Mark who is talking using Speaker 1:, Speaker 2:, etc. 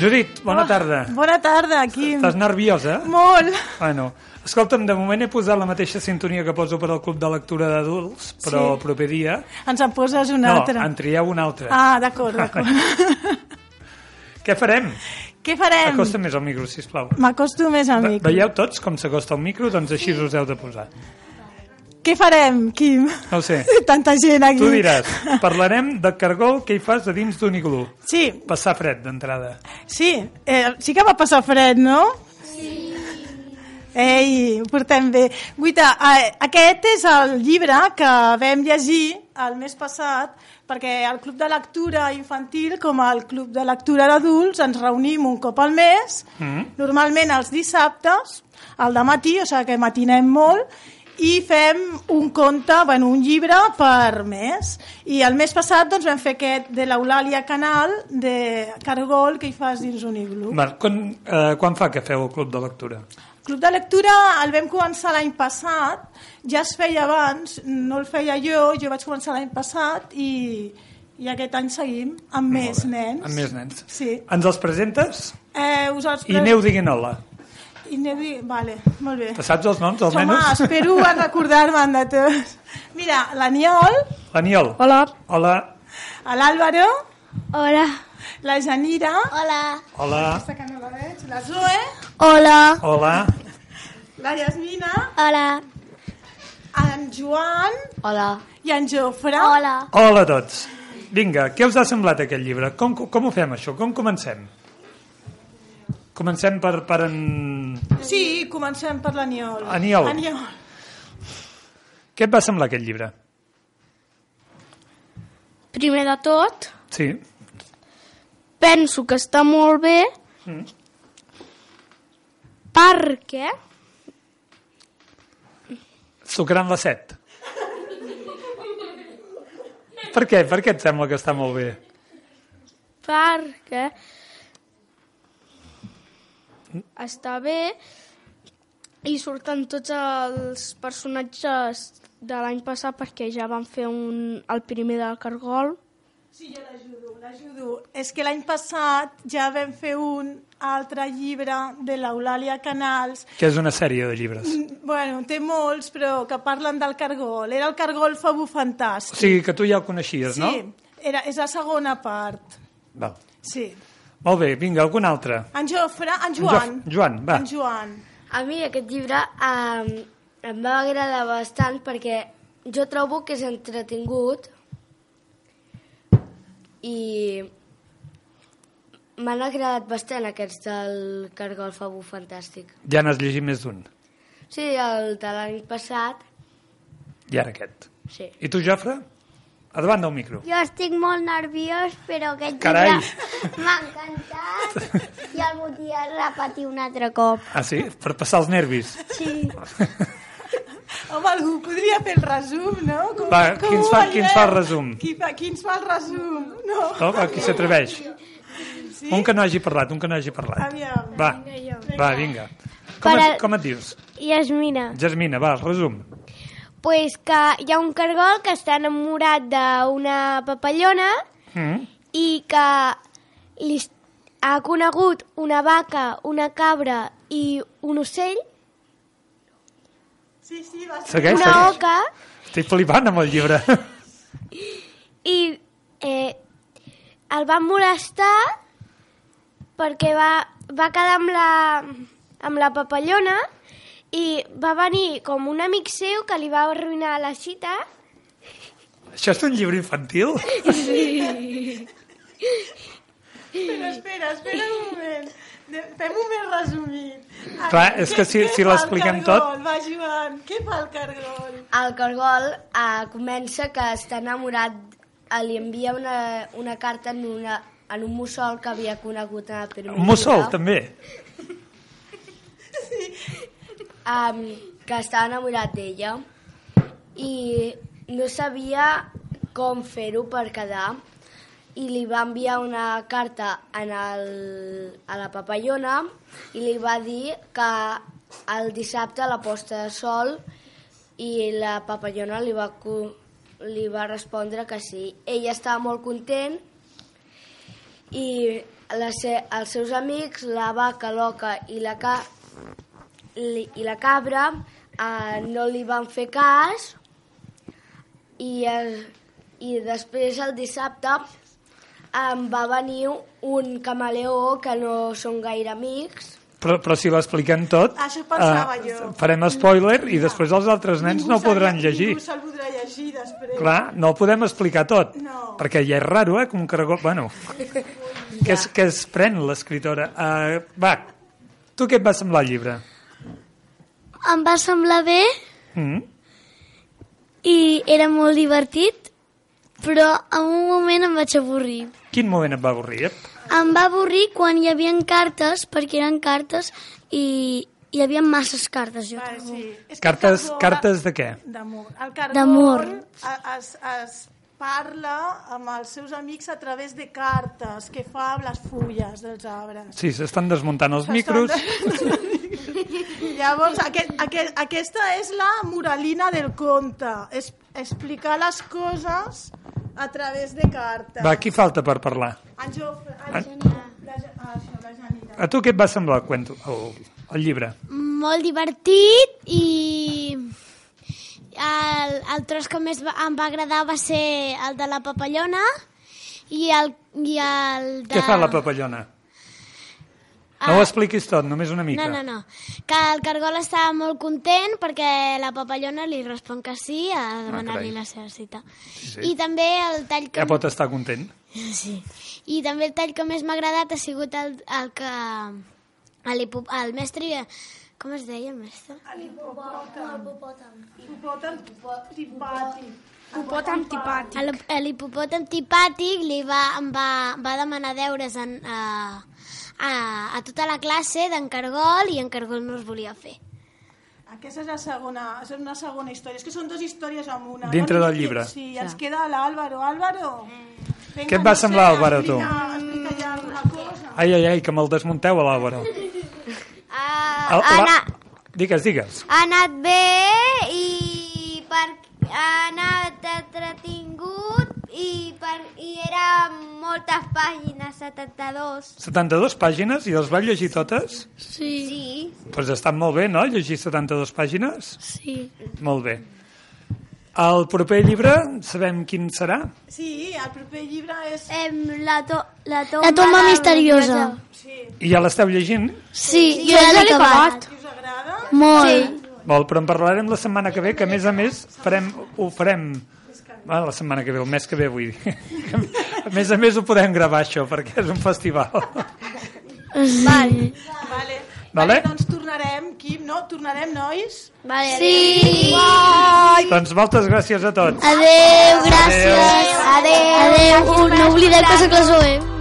Speaker 1: Judit,
Speaker 2: Oh.
Speaker 1: bona tarda.
Speaker 2: Bona tarda, Quim.
Speaker 1: Estàs nerviosa?
Speaker 2: Molt.
Speaker 1: Bueno, escolta'm, de moment he posat la mateixa sintonia que poso per al Club de Lectura d'Adults, però
Speaker 2: Sí.
Speaker 1: el proper dia...
Speaker 2: Ens en poses una
Speaker 1: no,
Speaker 2: altra.
Speaker 1: en trieu una altra.
Speaker 2: Ah, d'acord, d'acord.
Speaker 1: Què farem?
Speaker 2: Què farem?
Speaker 1: Acosta més al micro, sisplau.
Speaker 2: M'acosto més a mi.
Speaker 1: Ve- Veieu tots com s'acosta el micro? Doncs així us heu de posar.
Speaker 2: Què farem, Quim?
Speaker 1: No ho sé.
Speaker 2: Tanta gent aquí.
Speaker 1: Tu diràs, parlarem de cargol que hi fas de dins d'un iglú.
Speaker 2: Sí,
Speaker 1: Passar fred, d'entrada.
Speaker 2: sí. Eh, sí que va passar fred, no? Sí. Ei, ho portem bé. Guita, eh, aquest és el llibre que vam llegir el mes passat perquè el Club de Lectura Infantil, com el Club de Lectura d'Adults, ens reunim un cop al mes
Speaker 1: Mm?
Speaker 2: normalment els dissabtes, al matí, o sigui que matinem molt, i fem un conte, bueno, un llibre per mes. I el mes passat doncs, vam fer aquest de l'Eulàlia Canal, de Cargol, que hi fas dins un iglú.
Speaker 1: Bueno, quan, eh, quan fa que feu el club de lectura?
Speaker 2: Club de lectura el vam començar l'any passat, ja es feia abans, no el feia jo, jo vaig començar l'any passat i, i aquest any seguim amb més nens.
Speaker 1: Amb més nens.
Speaker 2: Sí.
Speaker 1: Ens els presentes?
Speaker 2: Eh, us els
Speaker 1: I Neu diguin hola.
Speaker 2: Ineudi... Vale, molt bé.
Speaker 1: Te saps els noms, almenys?
Speaker 2: Home, espero a recordar-me'n de tots. Mira, l'Aniol,
Speaker 1: L'Aniol.
Speaker 3: Hola.
Speaker 1: Hola.
Speaker 2: l'Àlvaro,
Speaker 3: Hola.
Speaker 2: la Janira,
Speaker 3: Hola.
Speaker 1: Hola.
Speaker 2: que no la veig, la Zoe,
Speaker 3: Hola.
Speaker 1: Hola.
Speaker 2: la Yasmina,
Speaker 3: Hola.
Speaker 2: en Joan
Speaker 3: Hola.
Speaker 2: i en Jofre.
Speaker 3: Hola.
Speaker 1: Hola a tots. Vinga, què us ha semblat aquest llibre? Com, com ho fem, això? Com comencem? Comencem per, per en...
Speaker 2: Sí, comencem per l'Aniol.
Speaker 1: Aniol.
Speaker 2: Aniol.
Speaker 1: Què et va semblar aquest llibre?
Speaker 4: Primer de tot,
Speaker 1: Sí.
Speaker 4: penso que està molt bé perquè
Speaker 1: Sucrant la set. Per què? Per què et sembla que està molt bé?
Speaker 4: perquè està bé i surten tots els personatges de l'any passat perquè ja van fer un, el primer del Cargol.
Speaker 2: Sí, jo l'ajudo, l'ajudo. És que l'any passat ja vam fer un altre llibre de l'Eulàlia Canals
Speaker 1: Que és una sèrie de llibres.
Speaker 2: Bueno, té molts, però que parlen del cargol. Era el cargol
Speaker 1: O
Speaker 2: fabufantàstic.
Speaker 1: sigui, que tu ja el coneixies, no?
Speaker 2: Sí, era, és la segona part.
Speaker 1: Val.
Speaker 2: Sí.
Speaker 1: Molt bé, vinga, algun altre.
Speaker 2: En Jofre, en Joan.
Speaker 1: Jo- Joan, va.
Speaker 2: En Joan.
Speaker 3: A mi aquest llibre um, em va agradar bastant perquè jo trobo que és entretingut i m'han agradat bastant aquests del Cargol Fabú Fantàstic.
Speaker 1: Ja n'has llegit més d'un.
Speaker 3: Sí, el de l'any passat,
Speaker 1: I ara aquest.
Speaker 3: sí.
Speaker 1: I tu, Jofre? A davant del micro.
Speaker 5: Jo estic molt nerviós, però aquest
Speaker 1: Carai.
Speaker 5: llibre m'ha encantat i el volia repetir un altre cop.
Speaker 1: Ah, sí? Per passar els nervis.
Speaker 5: Sí.
Speaker 2: Home, algú podria fer el resum, no? Com,
Speaker 1: Va, qui ens fa-
Speaker 2: ho
Speaker 1: qui ens
Speaker 2: veiem?
Speaker 1: fa el resum?
Speaker 2: Qui, fa, qui ens fa el resum? No.
Speaker 1: No? Va, qui s'atreveix?
Speaker 2: Sí?
Speaker 1: Un que no hagi parlat, un que no hagi parlat.
Speaker 2: Aviam.
Speaker 1: Va, va, vinga. Com,
Speaker 5: Per
Speaker 1: es,
Speaker 5: al-
Speaker 1: com et dius?
Speaker 5: I es mira,
Speaker 1: Jasmina, va, resum.
Speaker 5: pues que hi ha un cargol que està enamorat d'una papallona
Speaker 1: Mm?
Speaker 5: i que li s- ha conegut una vaca, una cabra i un ocell,
Speaker 2: Sí, sí, va ser.
Speaker 1: Segueix,
Speaker 5: una
Speaker 1: segueix.
Speaker 5: oca,
Speaker 1: Estic flipant amb el llibre.
Speaker 5: i eh, el va molestar perquè va, va quedar amb la, amb la papallona i va venir com un amic seu que li va arruïnar la cita
Speaker 1: Això és un llibre infantil?
Speaker 2: Espera, espera, espera un moment. De- Fem-ho més resumit. A
Speaker 1: Clar,
Speaker 2: veure,
Speaker 1: és
Speaker 2: què-
Speaker 1: que si-
Speaker 2: què
Speaker 1: si
Speaker 2: fa el
Speaker 1: l'expliquem
Speaker 2: cargol?
Speaker 1: tot-
Speaker 2: Va, Joan, què fa el cargol?
Speaker 3: El Cargol eh, comença que està enamorat, eh, li envia una, una carta en, una, en un mussol que havia conegut a la primera
Speaker 1: Un mussol, també.
Speaker 3: Um, que estava enamorat d'ella i no sabia com fer-ho per quedar i li va enviar una carta en el, a la papallona i li va dir que el dissabte a la posta de sol i la papallona li va, co- li va respondre que sí. Ella estava molt content i les, se- els seus amics, la vaca, l'oca i la, ca, li, i la cabra, eh, no li van fer cas i, eh, i després el dissabte em va venir un camaleó que no són gaire amics
Speaker 1: Però, però si va explicant tot...
Speaker 2: Això pensava
Speaker 1: eh,
Speaker 2: jo.
Speaker 1: Farem spoiler i després els altres nens no podran
Speaker 2: se'l-
Speaker 1: llegir.
Speaker 2: Ningú se'l podrà llegir després.
Speaker 1: Clar, no ho podem explicar tot,
Speaker 2: No.
Speaker 1: perquè ja és raro, eh, que un caragol... Bueno, que es, que es pren l'escriptora. Uh, va, tu què et va semblar el llibre?
Speaker 5: Em va semblar bé
Speaker 1: Mm?
Speaker 5: i era molt divertit, però en un moment em vaig avorrir.
Speaker 1: Quin moment et va avorrir? Eh?
Speaker 5: Em va avorrir quan hi havia cartes, perquè eren cartes i hi havia masses cartes, jo
Speaker 2: Ah,
Speaker 5: trobo.
Speaker 2: sí. És que
Speaker 1: Cartes,
Speaker 2: el cargol-
Speaker 1: cartes de què?
Speaker 2: D'amor. El cargol
Speaker 5: D'amor.
Speaker 2: a- Es, es parla amb els seus amics a través de cartes que fa amb les fulles dels arbres.
Speaker 1: Sí, s'estan desmuntant els micros.
Speaker 2: Llavors, aquest, aquest, aquesta és la moralina del conte. És explicar les coses a través de cartes.
Speaker 1: Va, qui falta per parlar?
Speaker 2: En Jofre, en Janina. La, Ja- ah, això, la Janina.
Speaker 1: A tu què et va semblar el, cuento, el, el llibre?
Speaker 6: molt divertit i el, el tros que més va, em va agradar va ser el de la papallona i el, i el de... Ah,
Speaker 1: Què fa la papallona? No ho expliquis tot, només una mica.
Speaker 6: No, no, no. Que el cargol estava molt content perquè la papallona li respon que sí a demanar-li
Speaker 1: Ah, carai.
Speaker 6: la seva cita.
Speaker 1: Sí.
Speaker 6: I també el tall que...
Speaker 1: Ja pot estar content.
Speaker 6: Sí. I també el tall que més m'ha agradat ha sigut el, el que... El, hipo- el mestre... Com es deia, el mestre?
Speaker 2: Hipopòtam tipàtic.
Speaker 4: Hipopòtam tipàtic.
Speaker 6: El, el hipopòtam tipàtic li va, em va, va demanar deures en, a, a, a tota la classe d'en Cargol i en Cargol no es volia fer.
Speaker 2: Aquesta és la segona, és una segona història. És que són dues històries en una.
Speaker 1: Dintre
Speaker 2: no?
Speaker 1: del llibre.
Speaker 2: Sí, i ens queda l'Àlvaro. Àlvaro, venga,
Speaker 1: Què et va
Speaker 2: no sé,
Speaker 1: semblar, Álvaro, a tu?
Speaker 2: Explica, explica ja alguna cosa.
Speaker 1: Ai, ai, ai, que me'l desmunteu a l'Àlvaro.
Speaker 5: Ah,
Speaker 1: El-
Speaker 5: ha,
Speaker 1: la-
Speaker 5: anat,
Speaker 1: Digues, digues.
Speaker 5: ha anat bé i per, ha anat entretingut i, per, i era moltes pàgines, 72.
Speaker 1: 72 pàgines i els vas llegir totes?
Speaker 5: Sí. sí.
Speaker 1: Doncs pues estan molt bé, no?, llegir 72 pàgines?
Speaker 4: Sí.
Speaker 1: Molt bé. El proper llibre, sabem quin serà?
Speaker 2: Sí, el proper llibre és...
Speaker 5: Em, la, to, la tomba,
Speaker 6: La tomba
Speaker 5: del-
Speaker 6: misteriosa.
Speaker 2: Sí,
Speaker 1: I ja l'esteu llegint?
Speaker 6: Sí, jo ja l'he acabat.
Speaker 2: si us agrada...
Speaker 6: Molt. Sí.
Speaker 1: Vol, però en parlarem la setmana que ve, que a més a més farem, ho farem... Ah, la setmana que ve, el mes que ve, vull dir. A més a més ho podem gravar, això, perquè és un festival.
Speaker 2: Vale. Vale.
Speaker 1: Vale.
Speaker 2: Doncs tornarem, Quim, no? Tornarem, nois?
Speaker 5: Vale,
Speaker 6: sí.
Speaker 1: doncs moltes gràcies a tots.
Speaker 6: Adéu, gràcies. Adéu. Adéu. No oblideu que sóc la Zoe.